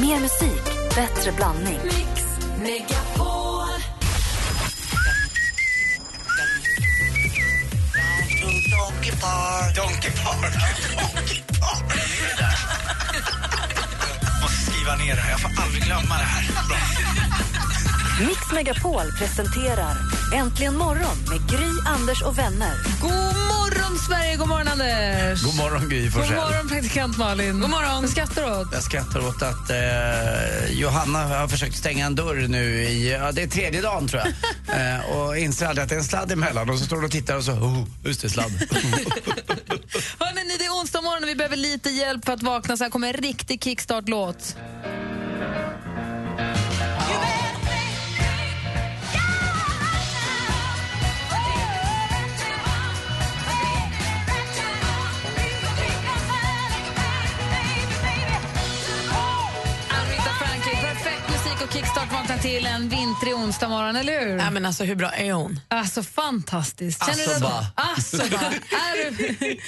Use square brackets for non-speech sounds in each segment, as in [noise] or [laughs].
Mer musik, bättre blandning. Mix Megapol. Donkey Park. Donkey Park. Donkey Park. Är det där? Jag måste skriva ner det här. Jag får aldrig glömma det här. Bra. Mix Megapol presenterar Äntligen morgon med Gry, Anders och vänner. God morgon, Sverige! God morgon, Anders! God morgon, Gry God Forssell. morgon, praktikant Malin! God morgon! Vad skrattar du åt? Jag skrattar åt att eh, Johanna har försökt stänga en dörr nu i, ja det är tredje dagen tror jag. [laughs] Eh, och inser aldrig att det är en sladd emellan och så står hon och tittar och så, oh, just [laughs] det, sladd. Hörrni, ni, det är onsdag morgon och vi behöver lite hjälp för att vakna. Så här kommer en riktig kickstart-låt. Aretha Franklin, perfekt musik och kickstart vaknar till en vintrig onsdag morgon, eller hur? Nej, men alltså, hur bra är hon? Alltså fantastiskt. Känner du Alltså, dig- bara. Alltså bara. Är du-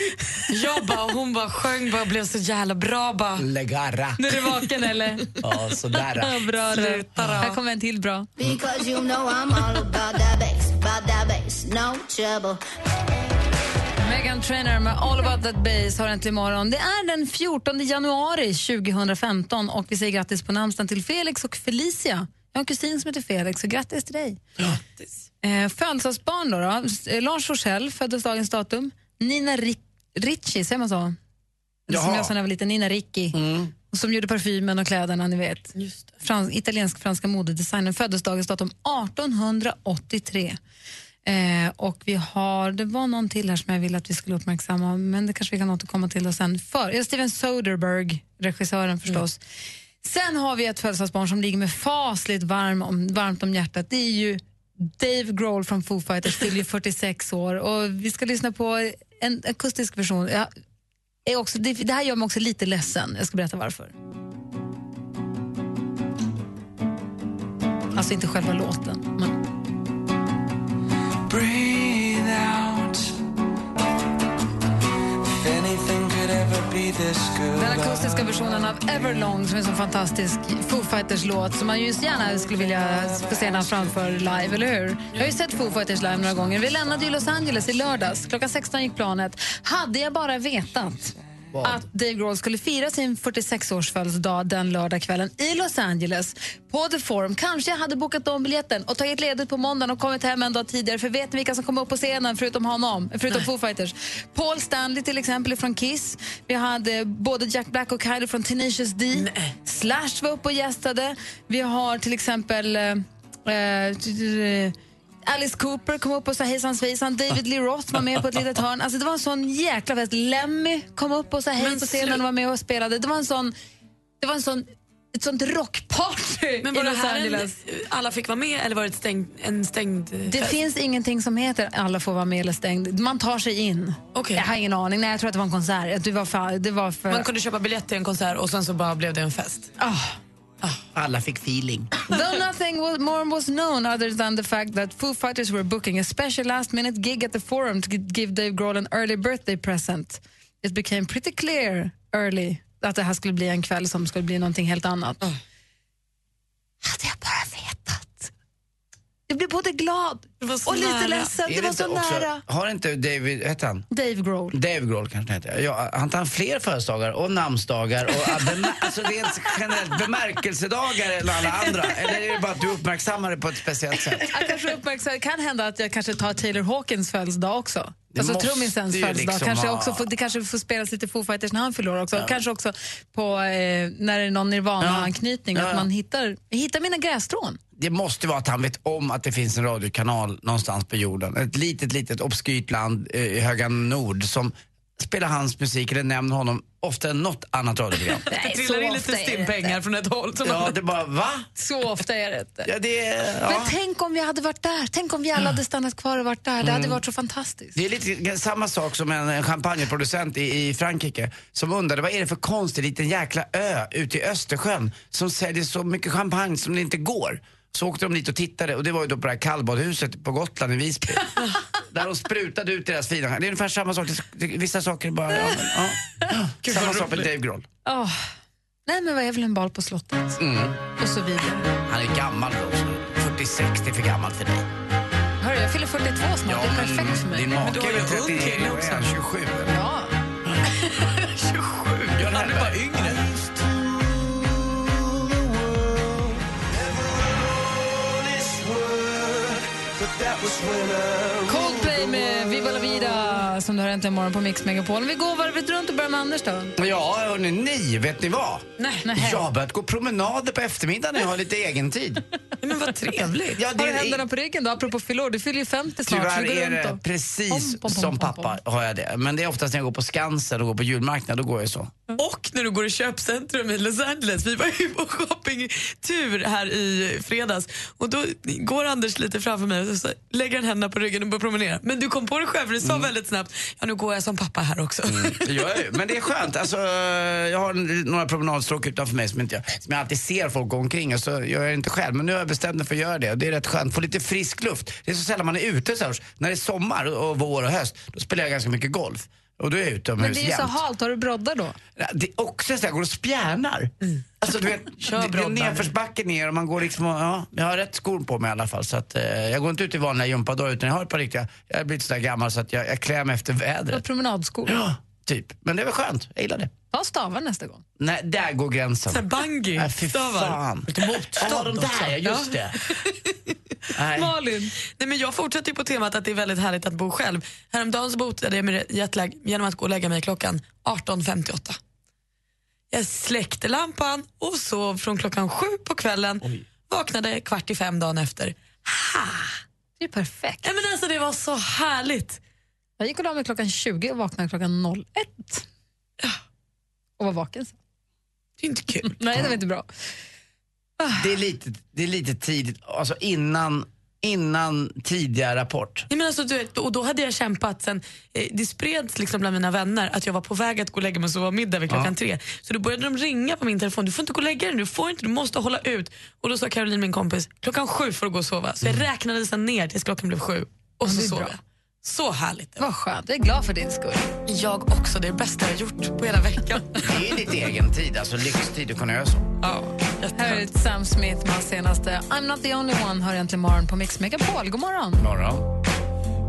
[laughs] Jag bara, hon bara sjöng bara blev så jävla bra. Bara. Legara. Nu är du vaken eller? Ja, [laughs] Ja, sådär. bra du. Sluta då. Här kommer en till bra. Because you know I'm all about that bass, about that bass, no trouble. Megan Trainor med All about that bass har äntligen morgon. Det är den 14 januari 2015 och vi säger grattis på namnsdagen till Felix och Felicia. Jag har en kusin som heter Felix, så grattis till dig. Eh, födelsedagsbarn då, då. S- eh, Lars Forssell föddes dagens datum. Nina Ri- Ricci, säger man så? Eller Som Jaha. jag sa när jag var liten, Nina Ricci. Och Som gjorde parfymen och kläderna, ni vet. Frans, Italiensk-franska modedesignern föddes dagens datum 1883. Eh, och vi har, det var någon till här som jag ville att vi skulle uppmärksamma, men det kanske vi kan återkomma till då sen. För, ja, Steven Soderbergh, regissören förstås. Sen har vi ett födelsedagsbarn som ligger med fasligt varm om, varmt om hjärtat. Det är ju Dave Grohl från Foo Fighters, fyller ju 46 år. Och vi ska lyssna på en akustisk version. Jag är också, det, det här gör mig också lite ledsen. Jag ska berätta varför. Alltså inte själva låten. Men... Breathe out. If anything could ever be this good. Den akustiska versionen av Everlong som är en så fantastisk Foo Fighters-låt som man ju så gärna skulle vilja få se när han framför live, eller hur? Jag har ju sett Foo Fighters live några gånger. Vi lämnade ju Los Angeles i lördags. Klockan 16 gick planet. Hade jag bara vetat att Dave Grohl skulle fira sin 46-årsfödelsedag den lördagskvällen i Los Angeles på The Forum. Kanske jag hade bokat om biljetten och tagit ledigt på måndagen och kommit hem en dag tidigare. För vet ni vilka som kom upp på scenen förutom honom? Förutom Foo Fighters. Paul Stanley till exempel från Kiss. Vi hade både Jack Black och Kylie från Tenacious D. Slash var uppe och gästade. Vi har till exempel eh, eh, t- t- Alice Cooper kom upp och sa hejsan svejsan. David Lee Roth var med på ett litet hörn. Alltså, det var en sån jäkla fest. Lemmy kom upp och sa hej på scenen och var med och spelade. Det var en sån... Det var en sån ett sånt rockparty Men i var det Los här en, Angeles. alla fick vara med eller var det ett stängd, en stängd eh, Det fest? finns ingenting som heter alla får vara med eller stängd. Man tar sig in. Okej. Jag har ingen aning. Nej, jag tror att det var en konsert. Att Det var för... Det var för Man kunde köpa biljett till en konsert och sen så bara blev det en fest. Ah. Alla fick feeling. Though nothing was, more was known other than the fact that Foo Fighters were booking a special last-minute gig at the Forum to g- give Dave Grohl an early birthday present. It became pretty clear early att det här skulle bli en kväll som skulle bli någonting helt annat. Mm. Hade jag bara vetat. Jag blev både glad Det var så och lite nära. ledsen. Är Det var inte så också- nära. Har inte David, hette han? Dave Grohl. Dave Grohl kanske han heter. Ja, han tar fler födelsedagar och namnsdagar och [laughs] ah, bemär- alltså det är inte generellt bemärkelsedagar eller alla andra. Eller är det bara att du uppmärksammar det på ett speciellt sätt? Jag kanske uppmärksam, det kan hända att jag kanske tar Taylor Hawkins födelsedag också. Det alltså måste trummisens ju födelsedag. liksom kanske ha- också får, det kanske får spelas lite Foo Fighters när han förlorar också. Kanske också på, eh, när det är någon Nirvana-anknytning. Ja. Ja, Att ja. man hittar, hittar mina grässtrån. Det måste vara att han vet om att det finns en radiokanal någonstans på jorden. Ett litet, litet obskyrt land eh, i höga nord som spelar hans musik eller nämner honom oftare än något annat radioprogram. Nej, Det trillar in lite är det inte. stimpengar från ett håll. Som Ja, man, det bara va? Så ofta är det inte. Ja, det, är- Men ja. tänk om vi hade varit där. Tänk om vi alla hade stannat kvar och varit där. Det Mm. hade varit så fantastiskt. Det är lite g- samma sak som en en champagneproducent i, i Frankrike som undrade vad är det för konstig liten jäkla ö ute i Östersjön som säljer så mycket champagne som det inte går. Så åkte de dit och tittade och det var ju då på det här kallbadhuset på Gotland i Visby. Där de sprutade ut deras fina... Det är ungefär samma sak, Det- det- vissa saker är bara... Ja, men, ja. Samma sak med Dave Grohl. Åh, Nej, men vad är väl en bal på slottet? Mm. Och så vidare. Han är gammal Rose. 46, det är för gammalt för dig. Hörru, jag fyller 42 snart. det är perfekt för mig. Din Men make då är är väl jag ung 31 kille och också. är han 27? eller? Ja. [laughs] 27, han är bara yngre. Coldplay med Viva La Vida som du har äntligen morgon på Mix Megapol. Vi går varvet runt och börjar med Anders då. Ja, hörni, ni, vet ni vad? Nej. Nej. Jag har börjat gå promenader på eftermiddagen när jag har lite egen tid. Men vad trevligt. [laughs] Ja, Har du händerna på ryggen då? Apropå fyllor, du fyller ju 50 snart. så Tyvärr vi går är runt det och- precis Pom, pom, pom, som pom, pom. pappa har jag det. Men det är oftast när jag går på Skansen och går på julmarknad, då går jag så. Och när du går i köpcentrum i Los Angeles. Vi var ju på shoppingtur här i fredags och då går Anders lite framför mig och så lägger han händerna på ryggen och börjar promenera. Men du kom på dig själv för du sa väldigt snabbt, ja nu går jag som pappa här också. Det gör jag ju. Men det är skönt. Alltså, jag har en- några promenadstråk utanför mig som, inte jag, som jag alltid ser folk gå omkring och så gör jag det inte själv. Men nu har jag bestämt mig för att göra det och det är rätt skönt. Få lite frisk luft. Det är så sällan man är ute så här. års. När det är sommar och och vår och höst, då spelar jag ganska mycket golf. Och då är jag utomhus Men det är ju så jämt. halt, har du broddar då? Ja, Det är också så jag går och spjärnar. Mm. Alltså du [laughs] vet, Kör det- det är Broddan. nedförsbacke ner och man går liksom och, ja, jag har rätt skor på mig i alla fall. Så att, eh, jag går inte ut i vanliga gympadagar utan jag har ett par riktiga, jag har blivit sådär gammal så att jag, jag klär mig efter Du har vädret. promenadskor. Ja, typ. Men det är väl skönt, jag gillar det. Ta stavar nästa gång. Nej, där går [laughs] gränsen. Så här bungee, Nej, fy fan. Ja, de där, ja, [laughs] just det. Nej. Malin. Nej, men jag fortsätter ju på temat att det är väldigt härligt att bo själv. Häromdagen så botade jag med jetlag genom att gå och lägga mig klockan 18.58. Jag släckte lampan och sov från klockan sju på kvällen. Vaknade kvart i fem dagen efter. Det är ju perfekt. Nej, men alltså, det var så härligt. Jag gick och la mig klockan 20 och vaknade klockan 01. Och var vaken sen. Det är inte kul. Nej, det var inte bra. Det, är lite, det är lite tidigt, alltså innan, innan tidiga rapport. Nej, men alltså, du vet, och då hade jag kämpat sen, eh, det spreds liksom bland mina vänner att jag var på väg att gå och lägga mig och sova middag vid klockan tre. Så då började de ringa på min telefon, du får inte gå och lägga dig nu, du får inte, du måste hålla ut. Och då sa Caroline, min kompis, klockan sju får du gå och sova. Så jag räknade sen ner tills klockan blev sju och så Mm. det är sov bra. jag. Så härligt det var. Vad skönt. Jag är glad för din skull. Jag också, det är det bästa jag har gjort på hela [laughs] veckan. Det är lite egen tid, alltså lyxtid att kunna göra så. ja, Här är jätteskönt. Sam Smith med hans senaste I'm not the only one hör äntligen morgon på Mix Megapol. God morgon. Morgon.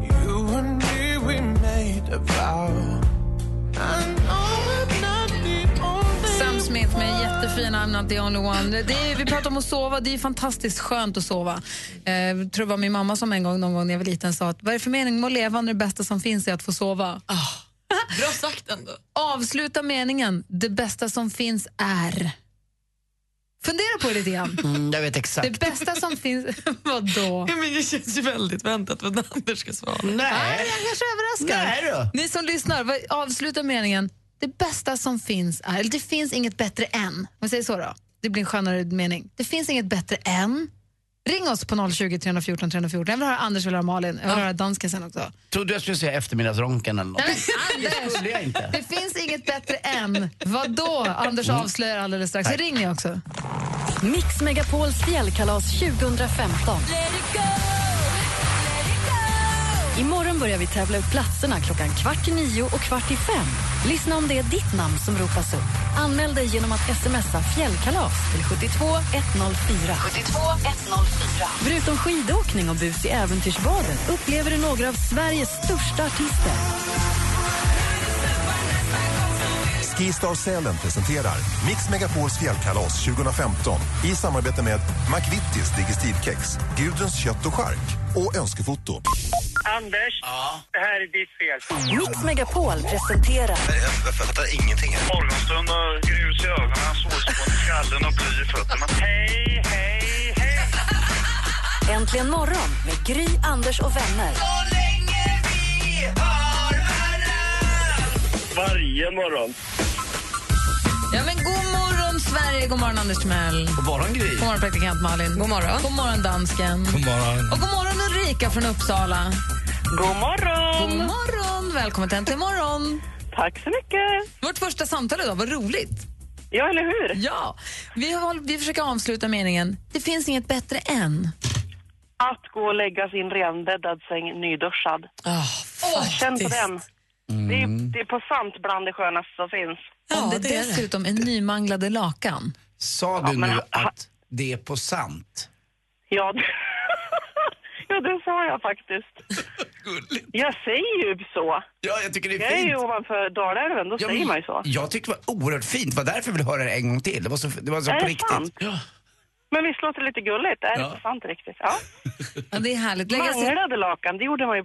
You and me, we made a vow. I know I'm not the only Sam Smith med jättefina I'm not the only one. Det är, vi pratar om att sova, det är fantastiskt skönt att sova. Eh, jag tror det var min mamma som en gång någon gång när jag var liten sa att vad är det för mening med att leva när det bästa som finns är att få sova? Bra sagt ändå. Avsluta meningen, det bästa som finns är... Fundera på det lite grann. Mm, jag vet exakt. Det bästa som finns... [laughs] Vadå? Ja, men det känns ju väldigt väntat att Anders ska svara. Nej, Nej. jag kanske överraskar. Nej då. Ni som lyssnar, vad- avsluta meningen. Det bästa som finns är, eller det finns inget bättre än. Om vi säger så då. Det blir en skönare mening. Det finns inget bättre än. Ring oss på 020 314 314. Jag vill höra Anders, jag vill höra Malin, jag vill höra dansken sen också. Trodde jag skulle säga eftermiddagsronken eller något. Nej, men Det Anders! skulle jag inte. [laughs] Det finns inget bättre än. Vadå? Anders avslöjar alldeles strax. Så ring ni också. Mix Megapols fjällkalas 2015. Imorgon börjar vi tävla ut platserna klockan kvart i nio och kvart i fem. Lyssna om det är ditt namn som ropas upp. Anmäl dig genom att smsa fjällkalas till 72 104. 72 104. Förutom skidåkning och bus i äventyrsbaden upplever du några av Sveriges största artister. Skistar Sälen presenterar Mix Megapols fjällkalas 2015 i samarbete med McVittys Digestivkex, Gudruns kött och chark och Önskefoto. Anders, det här är ditt fel. Mix Megapol presenterar Jag fattar ingenting. Morgonstund och grus i ögonen, sårspån i skallen och bly i fötterna. Hej, hej, hej! Äntligen morgon med Gry, Anders och vänner. Varje morgon. Ja, men god morgon, Sverige. God morgon, Anders Timell. Och var en grej. God morgon, praktikant Malin. God morgon. God morgon, dansken. God morgon. Och god morgon, Ulrika från Uppsala. God morgon! God morgon! Välkommen till Äntligen morgon! Tack så mycket! Vårt första samtal idag, vad roligt! Ja, eller hur? Ja, vi, har, vi försöker avsluta meningen Det finns inget bättre än. Att gå och lägga sin redan bäddad säng nyduschad. Oh, Känn på den. Det, är, det är på sant bland det skönaste som finns. Om det, det är det. dessutom är nymanglade lakan. Sa du men nu ha- ha- att det är på sant? Ja, det- [laughs] ja det sa jag faktiskt. Gulligt. Jag säger ju så. Ja, jag tycker det Jag är är fint. ju ovanför Dalälven, då Ja, men säger man ju så. Jag tyckte det var oerhört fint. Det var därför jag ville höra det en gång till. Det var så, det var så Är på det riktigt. sant? Ja. Men visst låter det lite gulligt? Det är inte sant riktigt. Ja. Ja, det är härligt. Lägga sig... Manglade lakan, det gjorde man ju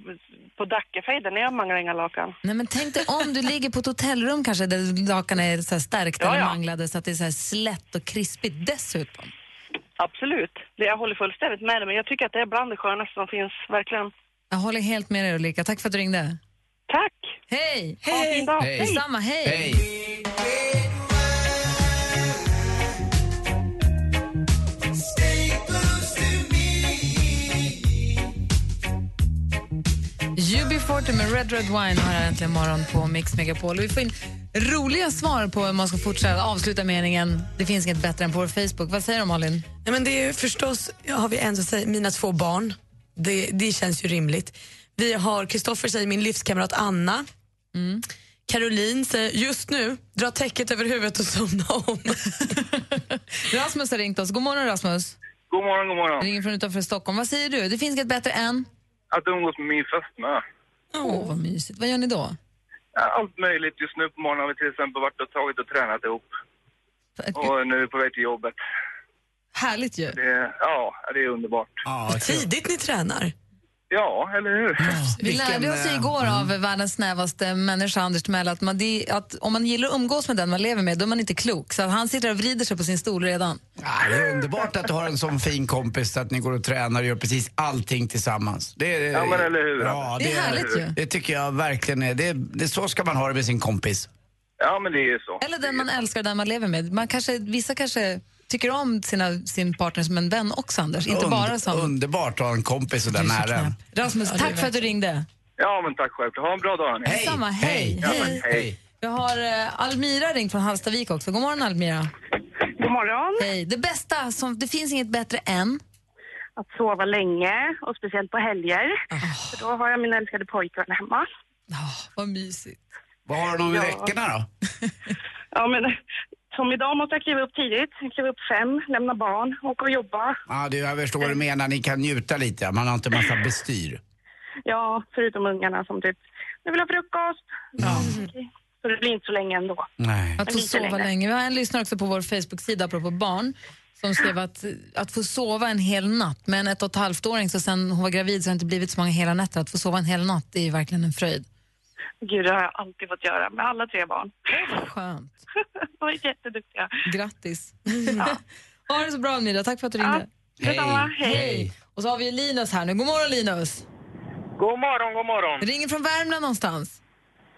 på Dackefejden. när Jag manglade inga lakan. Nej, men tänk dig om du ligger på ett hotellrum kanske där lakan är så här stärkta Ja, eller ja. manglade så att det är så här slätt och krispigt dessutom. Absolut. Det jag håller fullständigt med dig, men jag tycker att det är bland det skönaste som finns, verkligen. Jag håller helt med dig Ulrika. Tack för att du ringde. Tack! Hej! Ha en fin dag. Hej. Hej. Detsamma, hej! Hej! UB40 med Red Red Wine har här äntligen morgon på Mix Megapol. Och Vi får in roliga svar på hur man ska fortsätta avsluta meningen. Det finns inget bättre än på vår Facebook. Vad säger du Malin? Nej, men det är ju förstås, ja, har vi en som säger mina två barn. Det, det känns ju rimligt. Vi har Kristoffer säger min livskamrat Anna. Caroline säger just nu, dra täcket över huvudet och somna om. Rasmus har ringt oss. God morgon Rasmus. God morgon, god morgon. Ringer från utanför Stockholm. Vad säger du? Det finns inget bättre än? Att umgås med min fästmö. Åh, vad mysigt. Vad gör ni då? Ja, Allt möjligt. Just nu på morgonen har vi till exempel varit och tagit och tränat ihop. Och nu är vi på väg till jobbet. Härligt ju. Det är, ja, det är underbart. Ja, kul. Tidigt ni tränar. Ja, eller hur? Vi lärde oss ju igår av världens snävaste människa, Anders Timell, att, man, det, att om man gillar att umgås med den man lever med, då är man inte klok. Så att han sitter och vrider sig på sin stol redan. Ja, det är underbart att du har en sån fin kompis så att ni går och tränar och gör precis allting tillsammans. Det är, Ja, men eller hur? Ja, Det är härligt ju. Det tycker jag verkligen är. Det, det, så ska man ha det med sin kompis. Ja, men det är ju så. Eller den man älskar och den man lever med. Man kanske, vissa kanske tycker om sina, sin partner som en vän också, Anders. Inte Und- bara som... Underbart att ha en kompis så där Du är så nära en. knäpp. Rasmus, tack för att du ringde. Ja, men tack själv. Ha en bra dag, hörni. Hej! Detsamma. Hej. Ja, Hej. men, hej. Vi har eh, Almira ringt från Hallstavik också. God morgon, Almira. God morgon! Hej. Det bästa, som, det finns inget bättre än... Att sova länge, och speciellt på helger. För då har jag min älskade pojkvän hemma. Oh, vad mysigt. Vad har du om i Ja. veckorna då? Ja, men som idag måste jag kliva upp tidigt. Jag kliver upp fem, lämna barn, åka och jobba. Ja, du, jag förstår vad du menar. Ni kan njuta lite. Man har inte massa bestyr. Ja, förutom ungarna som typ, nu vill jag ha frukost. Okej. Så det blir inte så länge ändå. Nej. Att få lite sova längre. länge. Vi har en lyssnare också på vår Facebook-sida apropå barn som skrev att, att få sova en hel natt, men ett och ett halvt-åring så sen hon var gravid så har det inte blivit så många hela nätter. Att få sova en hel natt det är ju verkligen en fröjd. Gud, det har jag alltid fått göra med alla tre barn. [laughs] Skönt. De är jätteduktiga. Grattis. [laughs] ha det så bra Almira, tack för att du Ja. ringde. Detsamma, hej. Hej. Och så har vi ju Linus här nu. God morgon Linus. God morgon, god morgon. Ringer från Värmland någonstans.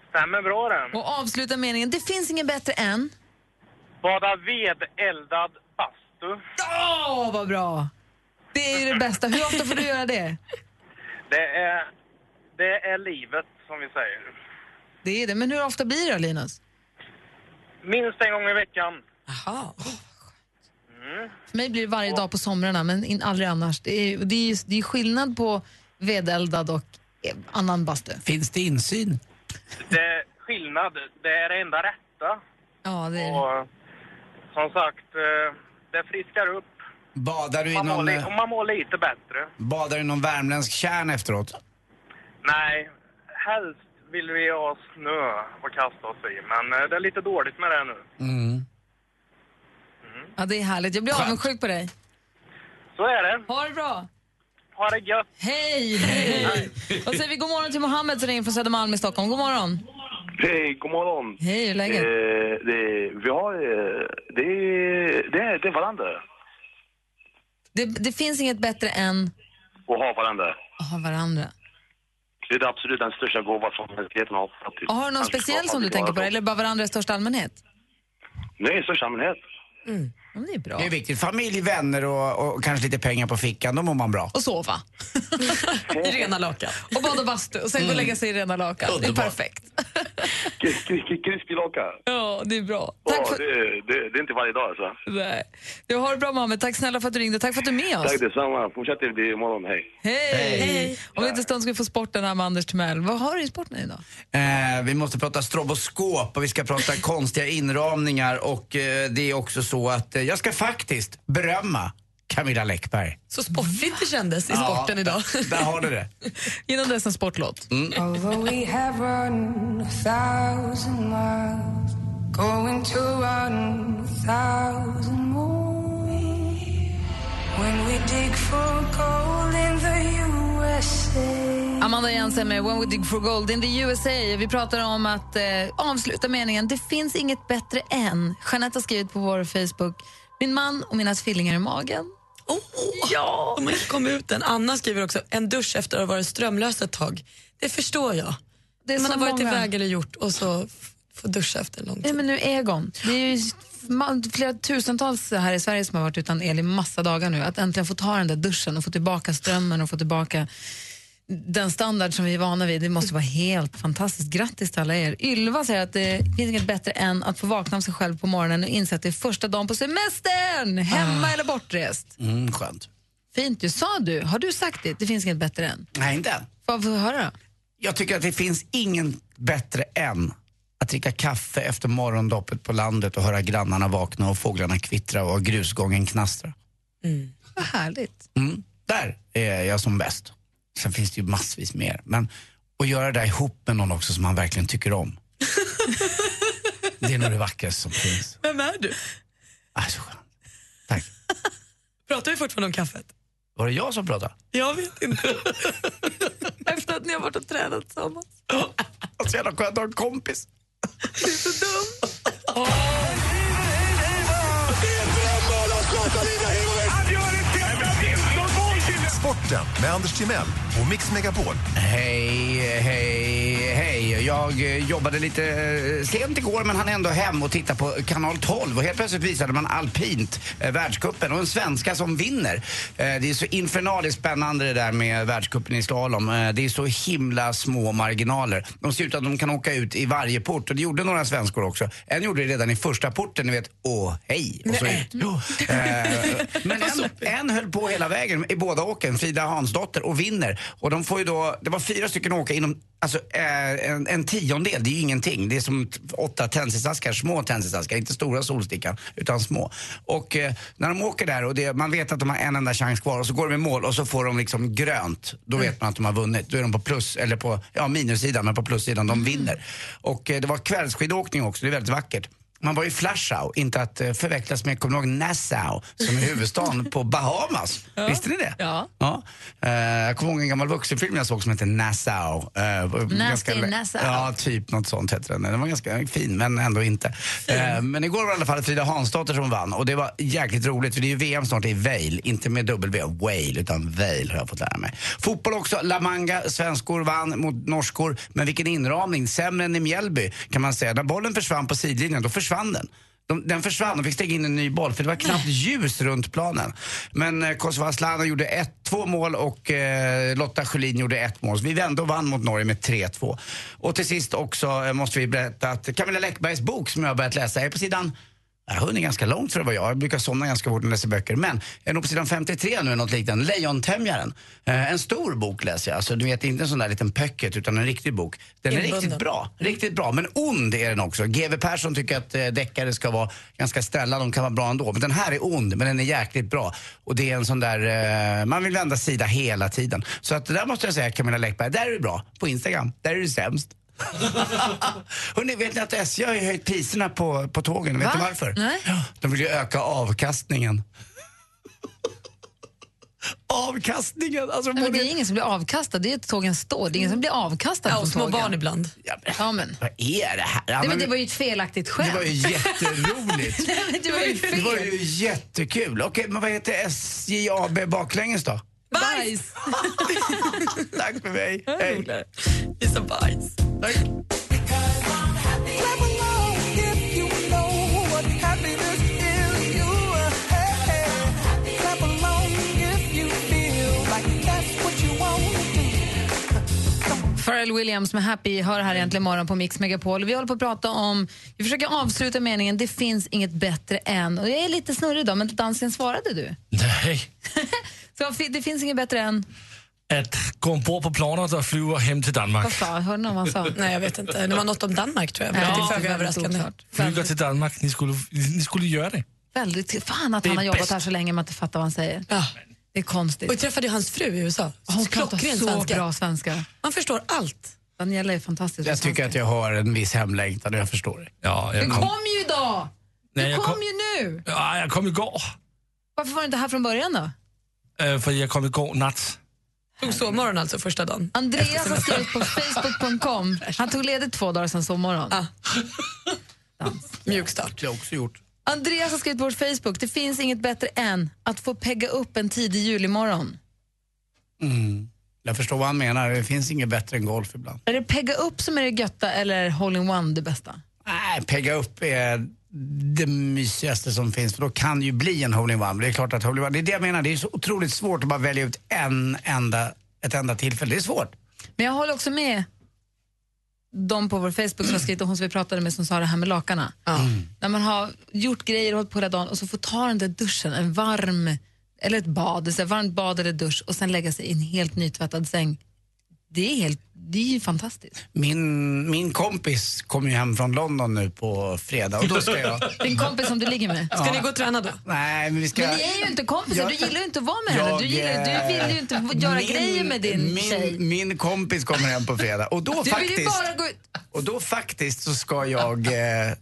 Stämmer bra den. Och avslutar meningen, det finns inget bättre än... Bada vedeldad bastu. Åh, vad bra! Det är ju det bästa. Hur ofta får du göra det? Det är, det är livet, som vi säger. Det är det. Men hur ofta blir det då, Linus? Minst en gång i veckan. Aha. För mig blir det varje dag på somrarna, men in, aldrig annars. Det är, det, är, ju- det är skillnad på vedeldad och eh, annan bastu. Finns det insyn? Det är skillnad. Det är det enda rätta. Ja, det är det. Och som sagt, eh, det friskar upp. Badar du i Man mår, någon, li- och eh, man mår lite bättre. badar du i någon värmländsk kärn efteråt? Nej, helst vill vi ha snö och kasta oss i, men eh, det är lite dåligt med det nu. Ja, det är härligt. Jag blir avundsjuk på dig. Så är det. Ha det bra! Ha det gött! Hej! Hej! Och säger vi god morgon till Mohammed som ringer från Södermalm i Stockholm. God morgon! Hej, god morgon! Hej, hur är läget? Eh, det, vi har... eh, Det, det, det är varandra. Det, det finns inget bättre än Och ha varandra. att ha varandra. Det är absolut den största gåvan som mänskligheten har fått. Och har du någon speciell som du tänker på? Eller bara varandra i största allmänhet? Nej, i största allmänhet. Ja, men det är bra. Det är viktigt. Familj, vänner och, och kanske lite pengar på fickan, då mår man bra. Och sova. I rena lakan. Mm. och bada bastu och sen gå och lägga sig i rena lakan. Det är perfekt. Krispilaka. Ja, det är bra. Ja, det, det, det är inte varje dag alltså. Nej. Du har det bra, Mohammed. Tack snälla för att du ringde. Tack för att du är med oss. Tack detsamma. Fortsätt det blir imorgon. Hej. Hej! Om en liten stund ska vi få sporten här med Anders Timell. Vad har du i sporten idag? Eh, vi måste prata stroboskop och vi [laughs] ska prata konstiga inramningar och eh, det är också så att eh, jag ska faktiskt berömma Camilla Läckberg. Så sportigt det kändes i Ja, sporten idag. Där har du det. Innan dess en sportlåt. Although we have run a thousand miles, going to run a thousand more. When we dig for gold in the USA. Amanda Jensen med When We Dig For Gold in the USA. Vi pratar om att eh, avsluta meningen Det finns inget bättre än. Jeanette har skrivit på vår Facebook Min man och mina tvillingar i magen. Ja, de har inte kommit ut än. Anna skriver också, en dusch efter att ha varit strömlös ett tag. Det förstår jag. Det är Man så har varit många. iväg eller gjort och så f- får duscha efter en lång Nej, men nu Egon. Det är ju s- ma- flera tusentals här i Sverige som har varit utan el i massa dagar nu. Att äntligen få ta den där duschen och få tillbaka strömmen och få tillbaka den standard som vi är vana vid. Det måste vara helt fantastiskt. Grattis till alla er. Ylva säger att det finns inget bättre än att få vakna av sig själv på morgonen och inse att det är första dagen på semestern, hemma Ah. eller bortrest. Mm, skönt. Fint ju. Sa du, har du sagt det? Det finns inget bättre än. Nej, inte än. Får jag få höra? Jag tycker att det finns ingen bättre än att dricka kaffe efter morgondoppet på landet och höra grannarna vakna och fåglarna kvittra och grusgången knastra. Vad härligt. Mm. Där är jag som bäst. Sen finns det ju massvis mer. Men att göra det där ihop med någon också som man verkligen tycker om. [laughs] det är nog det vackraste som finns. Vem är du? Alltså, Pratar vi fortfarande om kaffet? var det jag som pratade? Jag vet inte. [laughs] Efter att ni har varit och tränat tillsammans. Alltså, jävla skönt att ha en kompis. Du är så dum. Sporten med Anders Timell och Mix Megapol. Hej, hej, hej. Jag eh, jobbade lite eh, sent igår men hann ändå hem och titta på kanal 12 och helt plötsligt visade man alpint, eh, världscupen och en svenska som vinner. Eh, det är så infernaliskt spännande det där med världscupen i slalom. Eh, det är så himla små marginaler. De ser ut att de kan åka ut i varje port och det gjorde några svenskor också. En gjorde det redan i första porten, ni vet, åh hej. Och så ut. Jo. Eh, men en, en höll på hela vägen i båda åken, Frida Hansdotter, och vinner. Och de får ju då, det var fyra stycken åka inom alltså, eh, en, en tiondel, det är ju ingenting. Det är som t- åtta tennisaskar, små tennisaskar, inte stora solstickan, utan små. Och eh, när de åker där och det, man vet att de har en enda chans kvar och så går de i mål och så får de liksom grönt, då vet man att de har vunnit. Då är de på plus, eller på ja, minussidan, men på plussidan, de vinner. Och eh, det var kvällsskidåkning också, det är väldigt vackert. Man var i Flashau, inte att eh, förväxlas med, kommer ni ihåg Nassau, som är [laughs] huvudstaden på Bahamas? Visste ni det? Ja. Eh, jag kommer ihåg en gammal vuxenfilm jag såg som hette Nassau. Eh, var ganska lä- Nassau. Ja, typ något sånt hette den. Den var ganska fin, men ändå inte. Eh, men igår var det i alla fall Frida Hansdotter som vann och det var jäkligt roligt för det är ju VM snart i Vail, inte med W, Wale, utan Vail har jag fått lära mig. Fotboll också, La Manga, svenskor vann mot norskor, men vilken inramning, sämre än i Mjällby kan man säga. När bollen försvann på sidlinjen, då försvann den. De, den försvann och fick stänga in en ny boll för det var knappt ljus runt planen. Men eh, Kosova Asllani gjorde ett, två mål och eh, Lotta Schelin gjorde ett mål. Så vi vände och vann mot Norge med 3-2. Och till sist också eh, måste vi berätta att Camilla Läckbergs bok som jag har börjat läsa är på sidan jag har hunnit ganska långt för att vara jag. Jag brukar somna ganska fort när jag läser böcker. Men jag är nog på sidan 53 nu, något liknande. Lejontämjaren. Eh, en stor bok läser jag. Alltså, du vet, inte en sån där liten pöcket utan en riktig bok. Den är Inbunden. riktigt bra. Riktigt bra. Men ond är den också. GW Persson tycker att eh, deckare ska vara ganska ställa. De kan vara bra ändå. Men den här är ond, men den är jäkligt bra. Och det är en sån där... Eh, man vill vända sida hela tiden. Så att det där måste jag säga, Camilla Läckberg. Där är du bra. På Instagram. Där är [laughs] du sämst. Hörrni, vet ni att SJ har ju höjt priserna på, på tågen? Vet Va? ni varför? Nej. De vill ju öka avkastningen. [laughs] avkastningen! Alltså, Nej, men det både- är ingen som blir avkastad, det är att tågen står. Det är ingen som blir avkastad Ja, från och små tågen. barn ibland. Ja, men. Ja, men. Vad är det här? Nej, Ja, men men- det var ju ett felaktigt skämt. [laughs] Det var ju jätteroligt. Nej, men [laughs] det var ju fel. Det var ju jättekul. Okej, men vad heter SJ AB baklänges då? Bajs! [laughs] Tack för mig. Hej. Visa bajs. Tack. För Pharrell Williams med Happy hör här egentligen morgon på Mix Megapol. Vi håller på att prata om, vi försöker avsluta meningen det finns inget bättre än. Och jag är lite snurrig idag, men dansken svarade du. Nej. [laughs] Så det finns inget bättre än, Att gå ombord på planet och flyga hem till vad Danmark. sa hörde någon [laughs] vad han sa? Nej, jag vet inte. Det var något om Danmark tror jag. Nej, Men det är väldigt föga överraskande. oklart. Flyga till Danmark, ni skulle, ni skulle göra det. Väldigt, fan att Det är han har jobbat bäst. här så länge man inte fattar vad han säger. Det är konstigt. Och jag träffade ju hans fru i USA. Hon pratar Klockren så svenska. bra svenska. Man förstår allt. Daniela är fantastisk. Jag tycker att jag har en viss hemlängtan och jag förstår det. Ja, Du kom ju idag! Du Nej, jag kom kom- ju nu! Ja, jag kom igår. Varför var du inte här från början då? Eh, för jag kom igår natt. Tog sovmorgon alltså första dagen. Andreas har [laughs] skrivit på facebook.com. Han tog ledigt två dagar sen sovmorgon. Ah. Mjuk start. Det har jag också gjort. Andreas har skrivit på vår Facebook. Det finns inget bättre än att få pegga upp en tidig julimorgon. Mm. Jag förstår vad han menar. Det finns inget bättre än golf ibland. Är det pegga upp som är det götta eller hole-in-one det bästa? Nej, pegga upp är det mysigaste som finns för då kan det ju bli en hole-in-one. Det är klart att hole-in-one, det är det jag menar. Det är så otroligt svårt att bara välja ut en enda, ett enda tillfälle. Det är svårt. Men jag håller också med de på vår Facebook som har skrivit och hon som vi pratade med som sa det här med lakanen. Mm. När man har gjort grejer och hållit på hela dagen och så får ta den där duschen, en varm, eller ett bad, så här, varmt bad eller dusch och sen lägga sig i en helt nytvättad säng. Det är, helt, det är ju fantastiskt. Min, min kompis kom ju hem från London nu på fredag och då [laughs] ska jag... Din kompis som du ligger med. Ska Ja. ni gå och träna då? Nej, men vi ska... Men ni är ju inte kompisar, Jag- du gillar ju inte att vara med henne. Du, Jag, gillar, eh, du vill ju inte göra grejer med din min, tjej. Min kompis kommer hem på fredag och då Du vill ju faktiskt... bara gå ut. Och då faktiskt så ska jag eh,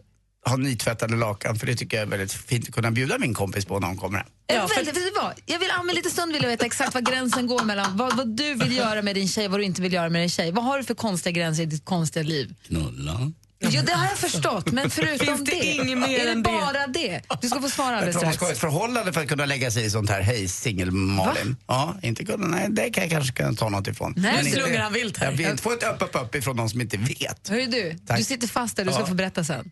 ha nytvättade lakan för det tycker jag är väldigt fint att kunna bjuda min kompis på när hon kommer hem. Ja, för... vet du vad? Jag vill om en liten stund vill jag veta exakt var gränsen går mellan vad, vad du vill göra med din tjej vad du inte vill göra med din tjej. Vad har du för konstiga gränser i ditt konstiga liv? Knulla. Jo, det har jag förstått, men förutom [laughs] Finns det det, inget mer är det än det? bara det? Du ska få svara Jag alldeles tror man strax. ska ha ett förhållande för att kunna lägga sig i sånt här. Hej, singel-Malin. Ja, inte kunna, nej, det kan jag kanske kunna ta något ifrån. Nej. Nu inte- slungar han vilt här. Jag vill inte få ett upp, upp, upp ifrån någon som inte vet. Hör du, Tack. du sitter fast där, du ska Ja. få berätta sen.